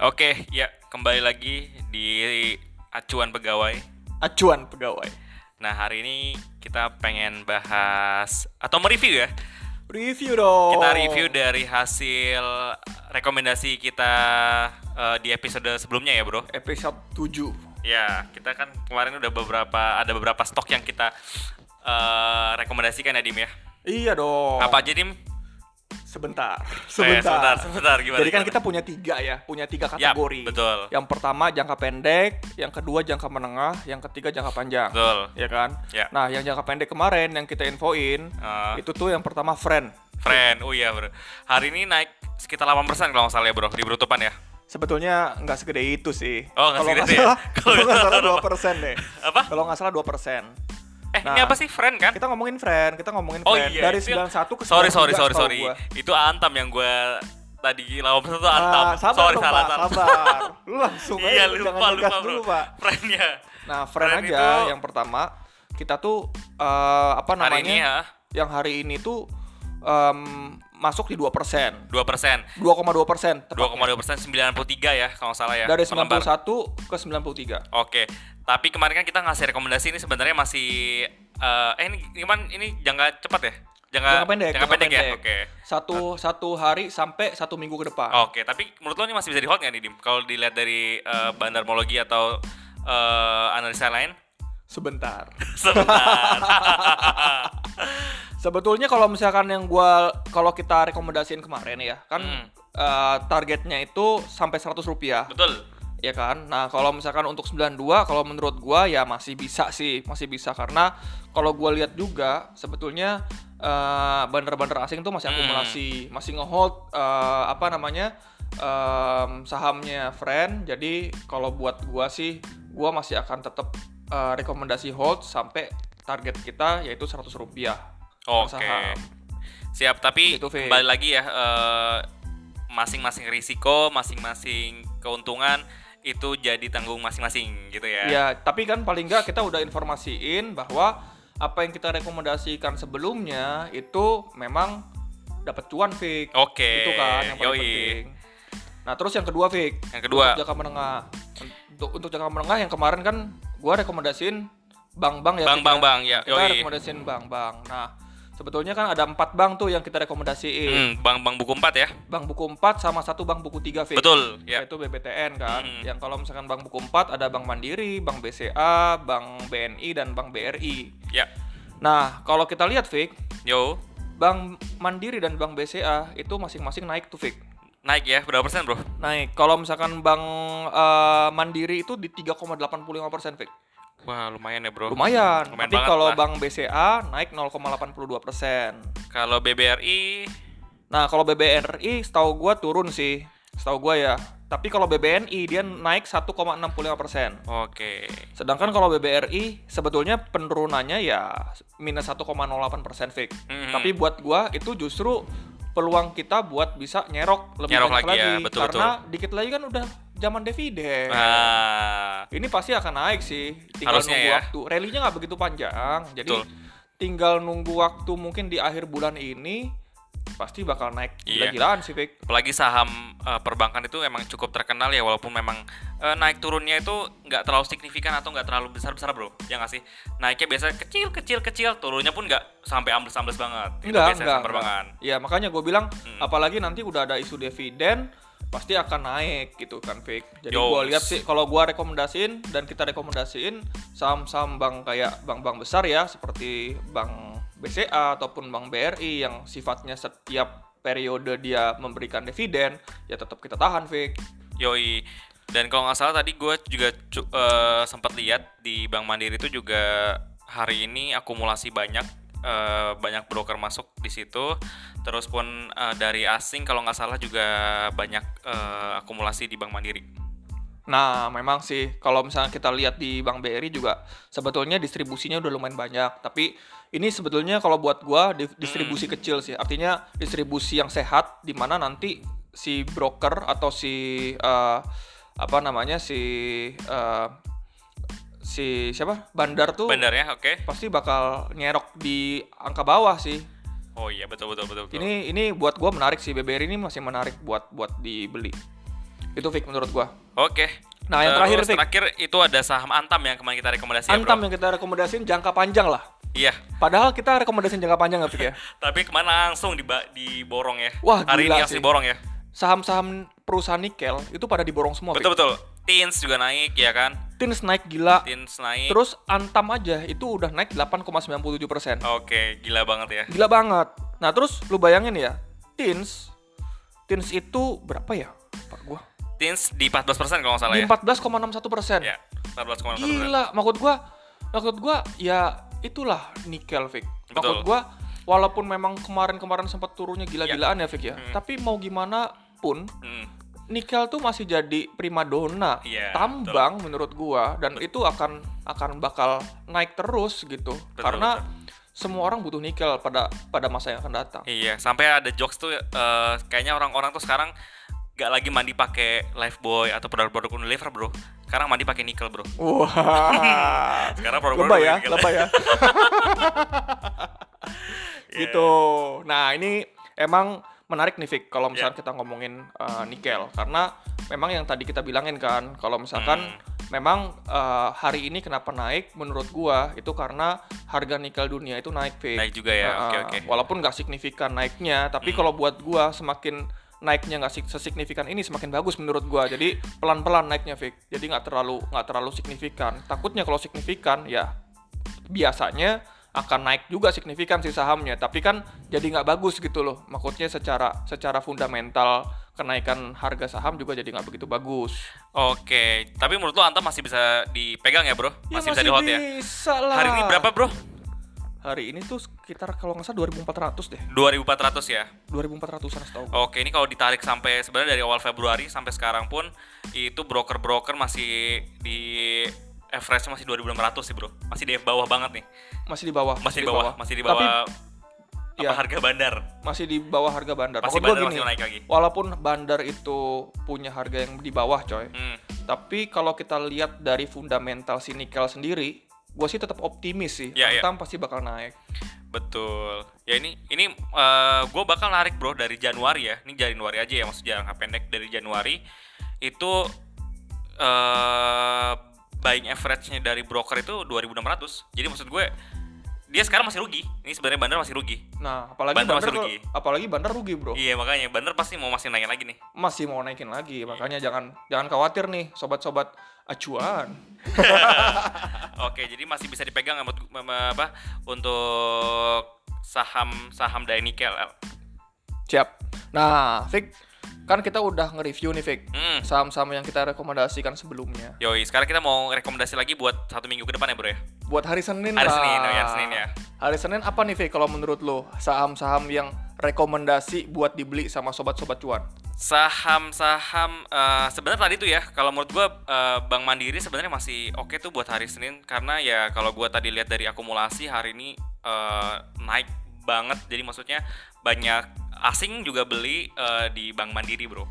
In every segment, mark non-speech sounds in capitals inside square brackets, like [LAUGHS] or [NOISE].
Oke, ya kembali lagi di acuan pegawai. acuan pegawai. Nah, hari ini kita pengen bahas atau mereview ya. Review dong. Kita review dari hasil rekomendasi kita eh, di episode sebelumnya ya, Bro. episode 7. Ya, kita kan kemarin udah beberapa ada beberapa stok yang kita eh, rekomendasikan ya, Dim ya. Iya dong. Apa aja, Dim? Sebentar. Oh ya, [LAUGHS] Oh. Sebentar. sebentar, sebentar gimana? Jadi kan gimana? kita punya tiga ya, punya tiga Yap, kategori. betul. Yang pertama jangka pendek, yang kedua jangka menengah, yang ketiga jangka panjang. Betul. Ya kan? Ya. Nah, yang jangka pendek kemarin yang kita infoin Eh, itu tuh yang pertama friend. friend, oh iya, Bro. Hari ini naik sekitar 8% kalau nggak salah ya, Bro, di penutupan ya. Sebetulnya nggak segede itu sih. Oh, nggak Kalau segede nggak itu ya? salah, [LAUGHS] Kalau kalau nggak nggak salah salah 2% deh. Apa? Kalau nggak salah 2%. Eh, ini Nah. apa sih friend kan? Kita ngomongin friend, kita ngomongin Oh friend. iya. Dari itu yang- 91 ke Sorry, sorry, 93 sorry, setahu sorry. gua. Itu Antam yang gue tadi lawan itu Antam. Ah, sabar sorry, dong, salah, Pak, salah. sabar. Lu langsung aja, Iya, lu lupa, jangan lupa, ngegas bro. dulu, Pak. Friendnya. Nah, friend, Friend aja itu- yang pertama, kita tuh eh, apa namanya? Hari ini ya, Yang hari ini tuh em, masuk di 2%. 2,2%. 2 persen. tepatnya. 2,2 persen, 93 ya, kalau nggak salah ya. Dari per lembar. 91 ke 93. Oke, tapi kemarin kan kita ngasih rekomendasi ini sebenarnya masih... eh, eh, ini gimana? Ini jangka cepat ya? Jangka, Jangka pendek, jangka ya? pendek. Oke. Oh. Satu satu hari sampai satu minggu ke depan. Oke, tapi menurut lo ini masih bisa di hold nggak nih, Dim? Kalau dilihat dari eh, bandarmologi atau eh, analisa lain? [LAUGHS] Sebentar. Sebentar. Sebetulnya kalau misalkan yang gua kalau kita rekomendasiin kemarin ya, kan Hmm. eh, targetnya itu sampai 100 rupiah. Betul. ya kan. Nah, kalau misalkan untuk 92 kalau menurut gua ya masih bisa sih, masih bisa karena kalau gua lihat juga sebetulnya eh, bandar-bandar asing tuh masih Hmm. akumulasi, masih ngehold eh, apa namanya? em, sahamnya friend. Jadi kalau buat gua sih gua masih akan tetap eh, rekomendasi hold sampai target kita yaitu 100 rupiah Oke. saham. Siap, tapi Gitu, Fit. kembali lagi ya eh, masing-masing risiko, masing-masing keuntungan itu jadi tanggung masing-masing gitu ya. Ya, tapi kan paling nggak kita udah informasiin bahwa apa yang kita rekomendasikan sebelumnya itu memang dapat cuan, Fik. Oke. Itu kan yang paling yoi. penting. Nah, terus yang kedua, Fik. Yang kedua. Untuk jangka menengah. Untuk untuk jangka menengah yang kemarin kan gua rekomendasiin bank-bank ya. Bang Fik, bang ya. bang ya. Kita Yoi. rekomendasiin bank-bank. Nah, sebetulnya kan ada empat bank tuh yang kita rekomendasiin. Hmm, bang bang buku 4 ya. Bank buku 4 sama satu bank buku 3, Fik Betul, ya. yaitu BBTN kan. Mm. Yang kalau misalkan Bank Buku 4 ada Bank Mandiri, Bank BCA, Bank BNI dan Bank BRI. Ya. Nah, kalau kita lihat Fik, Yo. Bank Mandiri dan Bank BCA itu masing-masing naik tuh Fik. Naik ya, berapa persen, Bro? Naik. Kalau misalkan Bank eh, Mandiri itu di 3,85% Fik. Wah, lumayan ya, Bro. Lumayan. Lumayan Tapi banget kalau lah. Bank BCA naik 0,82%. Kalau BBRI Nah, kalau BBRI setahu gua turun sih. Setahu gua ya. Tapi kalau BBNI dia naik 1,65%. Oke. Sedangkan kalau BBRI sebetulnya penurunannya ya minus 1,08 persen fix. Mhm. Tapi buat gua itu justru peluang kita buat bisa nyerok lebih Nyerok banyak lagi ya, betul, karena dikit lagi kan udah zaman dividen. Nah, Ini pasti akan naik sih. Tinggal Harusnya nunggu ya. waktu. Rally-nya nggak begitu panjang. Jadi Betul. tinggal nunggu waktu mungkin di akhir bulan ini pasti bakal naik Iya. gila-gilaan sih, Fik. apalagi saham eh, perbankan itu emang cukup terkenal ya walaupun memang eh, naik turunnya itu nggak terlalu signifikan atau nggak terlalu besar besar bro ya nggak sih naiknya biasa kecil kecil kecil turunnya pun nggak sampai ambles ambles banget Itu Enggak, biasanya enggak. saham perbankan enggak. Ya, makanya gue bilang apalagi nanti udah ada isu dividen pasti akan naik gitu kan, Fik. Jadi Yo. gue lihat sih kalau gue rekomendasiin dan kita rekomendasiin saham-saham bank kayak bank-bank besar ya seperti bank BCA ataupun bank BRI yang sifatnya setiap periode dia memberikan dividen ya tetap kita tahan, Fik. yoi dan kalau nggak salah tadi gue juga cu- eh, sempat lihat di bank mandiri itu juga hari ini akumulasi banyak eh, banyak broker masuk di situ terus pun eh, dari asing kalau nggak salah juga banyak eh, akumulasi di bank mandiri Nah, memang sih kalau misalnya kita lihat di Bank BRI juga sebetulnya distribusinya udah lumayan banyak, tapi ini sebetulnya kalau buat gua di- distribusi kecil sih. Artinya distribusi yang sehat di mana nanti si broker atau si eh, apa namanya si eh, si siapa? bandar tuh benar ya oke pasti bakal nyerok di angka bawah sih. Oh iya betul betul betul. betul. Ini ini buat gua menarik sih BBRI ini masih menarik buat buat dibeli. Itu Fik menurut gua. Oke. Eh, Nah, yang terakhir, Terus Fik. terakhir itu ada saham Antam yang kemarin kita rekomendasiin, Antam Bro. yang kita rekomendasiin jangka panjang lah. Iya. Padahal kita rekomendasiin jangka panjang nggak Fik ya? Tapi kemana langsung diba- diborong ya? Wah, Hari ini gila langsung sih. diborong ya. Saham-saham perusahaan nikel itu pada diborong semua. Fik. Betul betul. Teens juga naik ya kan? Tins naik gila. Teens naik. Terus Antam aja itu udah naik 8,97 persen. Oke, gila banget ya. Gila banget. Nah terus lu bayangin ya, Tins, Tins itu berapa ya? Pak gua Teens di 14% kalau nggak salah ya. di 14,61 persen. Ya, 14,1%. Gila, maksud gua, maksud gua ya itulah nikel, Vic. Betul. Maksud gua, walaupun memang kemarin-kemarin sempat turunnya gila-gilaan ya, Vic ya. Hmm. Tapi mau gimana pun, Hmm, nikel tuh masih jadi primadona Iya, tambang menurut gua dan itu akan akan bakal naik terus gitu Betul, karena semua orang butuh nikel pada pada masa yang akan datang Iya, sampai ada jokes tuh eh, kayaknya orang-orang tuh sekarang nggak lagi mandi pakai Lifebuoy atau produk-produk Unilever, Bro. Sekarang mandi pakai nikel, Bro. [LAUGHS] wah Sekarang lebay produk-produk ya nikel. lebay ya gitu nah ini emang menarik nih Vic kalau misalkan kita ngomongin eh, nikel karena memang yang tadi kita bilangin kan kalau misalkan memang eh, hari ini kenapa naik menurut gua itu karena harga nikel dunia itu naik Vic Naik juga ya. Oke, Nah, oke. Hmm. Walaupun nggak signifikan naiknya, tapi kalau buat gua semakin naiknya nggak sig- sesignifikan ini semakin bagus menurut gua. Jadi pelan-pelan naiknya, Vic. Jadi nggak terlalu nggak terlalu signifikan. Takutnya kalau signifikan, ya biasanya akan naik juga signifikan si sahamnya. Tapi kan jadi nggak bagus gitu loh. Maksudnya secara secara fundamental kenaikan harga saham juga jadi nggak begitu bagus. Oke, tapi menurut lo Antam masih bisa dipegang ya, Bro? Masih bisa di hold ya? Iya, bisa lah. Hari ini berapa, Bro? Hari ini tuh sekitar kalau nggak salah 2.400 deh. 2400 ya. 2.400an setahu gua. Oke, ini kalau ditarik sampai sebenarnya dari awal Februari sampai sekarang pun itu broker-broker masih di average masih 2600 sih, Bro. Masih di bawah banget nih. masih di bawah Masih di bawah, masih di bawah apa ya. harga bandar. masih di bawah harga bandar Pasti Maksud gua bandar gini, masih naik lagi. walaupun bandar itu punya harga yang di bawah coy Hmm. tapi kalau kita lihat dari fundamental si nikel sendiri gue sih tetap optimis sih Ya, ya. Antam pasti bakal naik Betul. Ya ini ini gue bakal narik bro dari Januari ya. Ini Januari aja ya maksudnya jangka pendek dari Januari itu eh buying average-nya dari broker itu 2600. Jadi maksud gue dia sekarang masih rugi. Ini sebenarnya bandar masih rugi. nah apalagi bandar, Bandar masih kalau- rugi. apalagi bandar rugi bro Iya makanya bandar pasti mau masih naikin lagi nih. masih mau naikin lagi Iya. makanya jangan jangan khawatir nih sobat-sobat [LAUGHS] acuan Oke, jadi masih bisa dipegang ya, menurut- em, apa untuk saham-saham dari nikel. El. siap nah Vic kan kita udah nge-review nih Vic Hmm. saham-saham yang kita rekomendasikan sebelumnya Yoi, sekarang kita mau rekomendasi lagi buat satu minggu ke depan ya bro ya. buat hari Senin Hari lah. Senin, oh ya, hari Senin ya. Hari Senin apa nih, Fe, kalau menurut lo? Saham-saham yang rekomendasi buat dibeli sama sobat-sobat cuan. saham-saham eh, sebenarnya tadi tuh ya kalau menurut gua eh, Bank Mandiri sebenarnya masih oke tuh buat hari Senin karena ya kalau gua tadi lihat dari akumulasi hari ini eh, naik banget jadi maksudnya banyak asing juga beli eh, di Bank Mandiri bro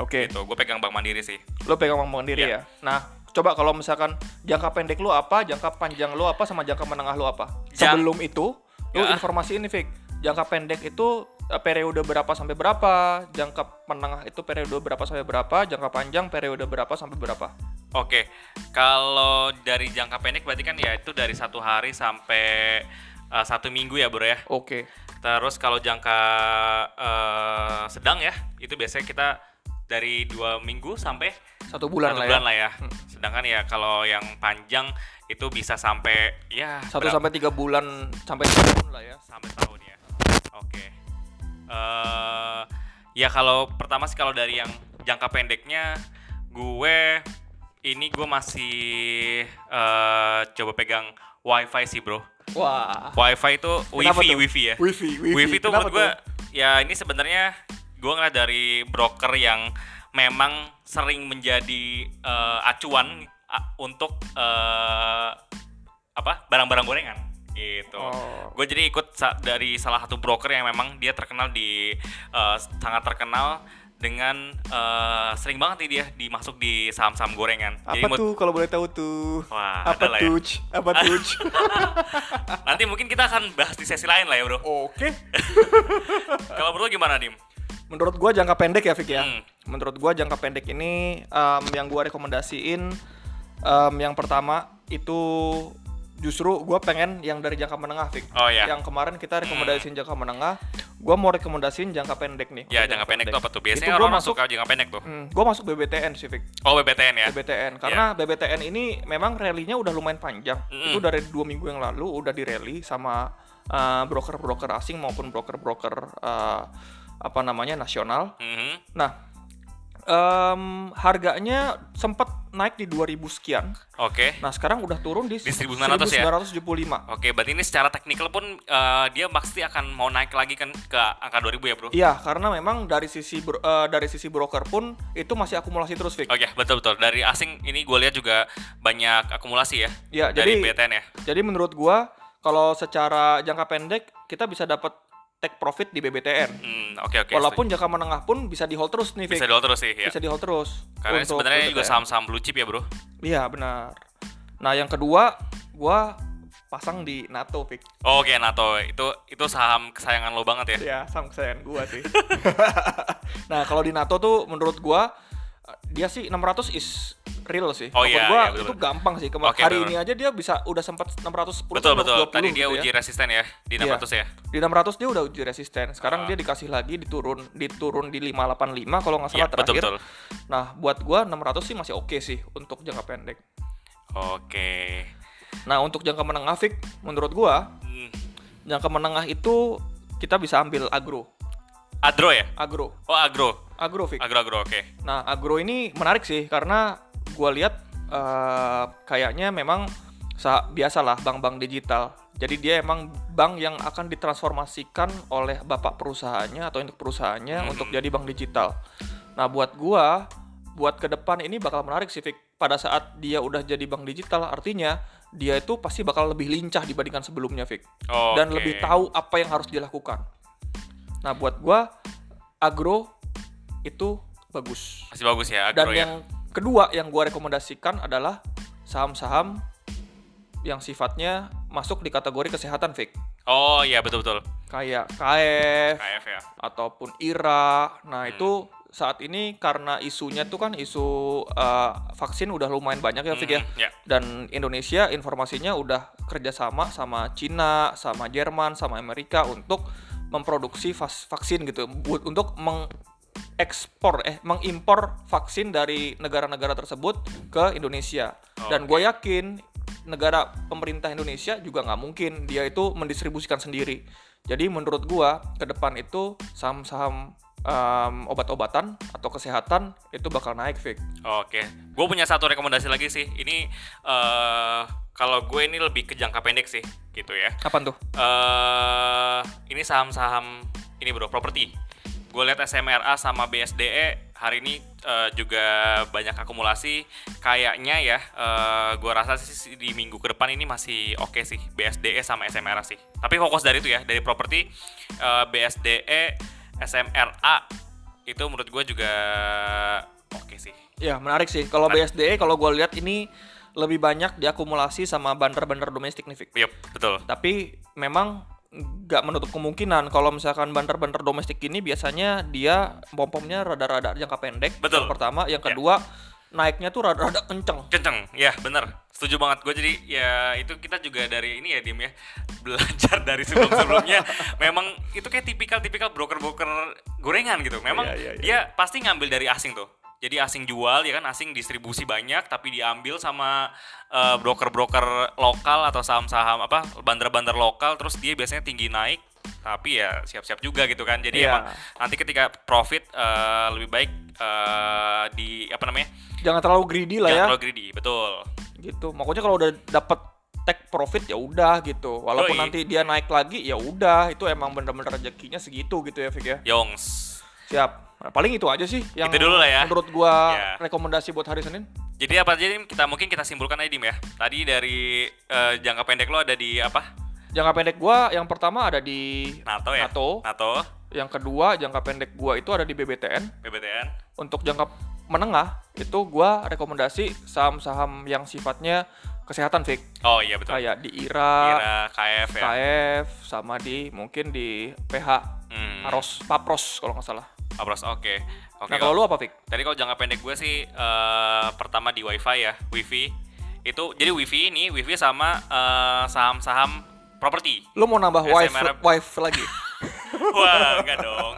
Oke. gitu gue pegang Bank Mandiri sih Lo pegang Bank Mandiri Iya. ya. Nah, coba kalau misalkan jangka pendek lo apa, jangka panjang lo apa, sama jangka menengah lo apa. Jang- Sebelum itu, lo Ya. informasi ini, Fik. Jangka pendek itu eh, periode berapa sampai berapa, jangka menengah itu periode berapa sampai berapa, jangka panjang periode berapa sampai berapa. Oke, kalau dari jangka pendek berarti kan ya itu dari satu hari sampai eh, satu minggu ya bro ya. Oke. Terus kalau jangka eh, sedang ya, itu biasanya kita dari dua minggu sampai Satu bulan satu lah bulan ya. lah ya. Sedangkan ya kalau yang panjang itu bisa sampai ya Satu berapa? sampai tiga bulan sampai tahun lah ya. sampai tahun ya. Oke. eh ya kalau pertama sih kalau dari yang jangka pendeknya gue ini gue masih eh coba pegang wifi sih bro. Wah. Wifi itu Kenapa wifi tuh? wifi ya. Wifi, wifi. Wifi tuh Iya Kenapa menurut gue ya ini sebenarnya gue ngeliat dari broker yang memang sering menjadi eh, acuan a- untuk eh, apa barang-barang gorengan gitu. Oh. Gue jadi ikut sa- dari salah satu broker yang memang dia terkenal di eh, sangat terkenal dengan eh, sering banget nih dia dimasuk di saham-saham gorengan. Apa jadi menurut- tuh kalau boleh tahu tuh? Wah, ada apa lah ya. tuh? Ci? Apa tuh? [LAUGHS] Ci? nanti mungkin kita akan bahas di sesi lain lah ya bro. Oke. Kalau menurut lu gimana Dim? Menurut gua jangka pendek ya Fik ya. Hmm. menurut gua jangka pendek ini em, yang gua rekomendasiin em, yang pertama itu justru gua pengen yang dari jangka menengah Fik. Oh, iya. Yang kemarin kita rekomendasiin jangka menengah, gua mau rekomendasiin jangka pendek nih. Ya jangka pendek tuh apa tuh? Biasanya Iya, Itu gua orang masuk- suka jangka pendek tuh. Hmm, gua masuk BBTN sih Fik. Oh BBTN ya. BBTN karena BBTN ini memang rally-nya udah lumayan panjang. Mm-mm. Itu dari dua minggu yang lalu udah di rally sama eh, broker-broker asing maupun broker-broker eh, apa namanya nasional. Mhm. Nah, em, harganya sempat naik di 2000 sekian. Oke. Nah, sekarang udah turun di, Di 1900 ya? 1975. Oke, berarti ini secara teknikal pun eh, dia pasti akan mau naik lagi kan ke angka 2000 ya, Bro? Iya, karena memang dari sisi bro- eh, dari sisi broker pun itu masih akumulasi terus, Fik. Oke, betul betul. Dari asing ini gue lihat juga banyak akumulasi ya. Iya, dari jadi- BTN ya. Jadi menurut gua kalau secara jangka pendek kita bisa dapat take profit di BBTN. Hmm, oke oke. Walaupun jangka menengah pun bisa di hold terus nih, setuju. bisa Fik. di hold terus sih ya. Bisa di hold terus. Karena untuk sebenarnya juga BBTN. saham-saham blue chip ya, Bro. Iya, benar. Nah, yang kedua gua pasang di NATO, Fik. Oh, oke, NATO. Itu itu saham kesayangan lo banget ya. ya sama kesayangan gua [LAUGHS] sih nah kalau di NATO tuh menurut gua eh, dia sih 600 is real sih Oh Menurut iya, gua iya, betul, itu betul. gampang sih kemarin Oke, hari betul. ini aja dia bisa udah sempat 610 Betul sampai betul. 620 Tadi dia gitu ya. uji resisten ya di 600 ya. di 600 dia udah uji resisten sekarang Ah. dia dikasih lagi diturun diturun di 585 kalau nggak Iya, salah betul terakhir betul. nah buat gua 600 sih masih oke sih untuk jangka pendek Oke. nah untuk jangka menengah Fik, menurut gua Hmm. jangka menengah itu kita bisa ambil agro Agro ya? agro Oh, agro. agro Fik. Agro agro oke. Nah, agro ini menarik sih karena gua lihat eh, kayaknya memang sa- biasalah bank-bank digital. Jadi dia emang bank yang akan ditransformasikan oleh bapak perusahaannya atau induk perusahaannya Hmm. untuk jadi bank digital. Nah, buat gua buat ke depan ini bakal menarik sih Fik. Pada saat dia udah jadi bank digital artinya dia itu pasti bakal lebih lincah dibandingkan sebelumnya Fik Oh, dan oke. lebih tahu apa yang harus dilakukan. Nah, buat gua agro itu bagus. Masih bagus ya Dan agro ya. yang kedua yang gua rekomendasikan adalah saham-saham yang sifatnya masuk di kategori kesehatan Fik. Oh, iya betul betul. Kayak KF KF ya. ataupun IRA. Nah, Hmm. itu saat ini karena isunya tuh kan isu eh, vaksin udah lumayan banyak ya Fik ya. Mhm, ya. Dan Indonesia informasinya udah kerjasama sama Cina, sama Jerman, sama Amerika untuk memproduksi vas- vaksin gitu, Bu- untuk mengekspor eh mengimpor vaksin dari negara-negara tersebut ke Indonesia. Dan gue yakin negara pemerintah Indonesia juga nggak mungkin dia itu mendistribusikan sendiri. Jadi menurut gue ke depan itu saham-saham em, obat-obatan atau kesehatan itu bakal naik, Fik. Oke, gue punya satu rekomendasi lagi sih. Ini eh kalau gue ini lebih ke jangka pendek sih, gitu ya. Kapan tuh? eh ini saham-saham ini bro, properti. Gue lihat SMRA sama BSDE E, hari ini eh, juga banyak akumulasi. Kayaknya ya, eh gue rasa sih di minggu ke depan ini masih oke sih BSDE E sama SMRA sih. Tapi fokus dari itu ya, dari properti eh, BSDE, SMRA itu menurut gue juga oke sih. Ya menarik sih. Kalau BSDE E, kalau gue lihat ini lebih banyak diakumulasi sama bandar-bandar domestik nih, Fik. Yup, betul. Tapi memang nggak menutup kemungkinan kalau misalkan bandar-bandar domestik ini biasanya dia bom-bomnya rada-rada jangka pendek. Betul. Ya. Yang pertama, yang kedua naiknya tuh rada-rada kenceng. kenceng ya bener setuju banget gue jadi ya itu kita juga dari ini ya Dim ya belajar dari sebelum [LAUGHS] sebelumnya memang itu kayak tipikal tipikal broker broker gorengan gitu memang Iya, iya, iya. dia pasti ngambil dari asing tuh jadi asing jual ya kan asing distribusi banyak tapi diambil sama eh, broker-broker lokal atau saham-saham apa bandar-bandar lokal terus dia biasanya tinggi naik tapi ya siap-siap juga gitu kan jadi Iya. emang nanti ketika profit eh, lebih baik eh, di apa namanya Jangan terlalu greedy lah jangan ya. terlalu greedy betul Gitu. Makanya kalau udah dapet take profit ya udah gitu. Walaupun Yoi. nanti dia naik lagi ya udah itu emang bener-bener rezekinya segitu gitu ya, Fik ya. Yongs. Siap. Nah, paling itu aja sih yang Itu dulu lah ya. menurut gua Ya. rekomendasi buat hari Senin. Jadi apa aja Dim? kita mungkin kita simpulkan aja Dim ya. Tadi dari eh, jangka pendek lo ada di apa? Jangka pendek gua yang pertama ada di NATO ya. NATO. NATO, yang kedua jangka pendek gua itu ada di BBTN. PBTN. Untuk jangka menengah itu gua rekomendasi saham-saham yang sifatnya kesehatan fik Oh iya betul. kayak di IRA, Kira KF ya. KF sama di mungkin di PH Hmm. Aros Papros kalau nggak salah. Operasional, Oke. Oke. nah, kalau- kalau lu apa, Fik? Tadi kalau jangka pendek gue sih eh, pertama di WiFi ya, WiFi itu jadi WiFi ini WiFi sama eh, saham-saham properti. Lu mau nambah wife, SMRF. wife lagi? Wah, enggak dong.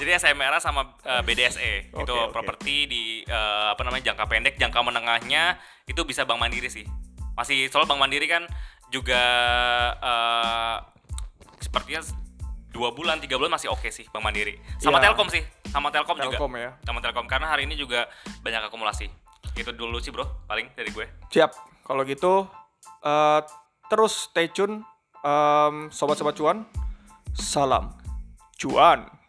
Jadi SMRA sama eh, BDSE Oke, itu oke. properti di eh, apa namanya jangka pendek, jangka menengahnya itu bisa Bank Mandiri sih. Masih soal Bank Mandiri kan juga eh, sepertinya dua bulan tiga bulan masih oke sih Bank Mandiri. Sama Iya. Telkom sih, sama Telkom, [LAUGHS] juga. Telkom ya. Sama Telkom karena hari ini juga banyak akumulasi. Itu dulu sih bro, paling dari gue. Siap. Kalau gitu eh, terus stay tune em, sobat-sobat cuan. Salam cuan.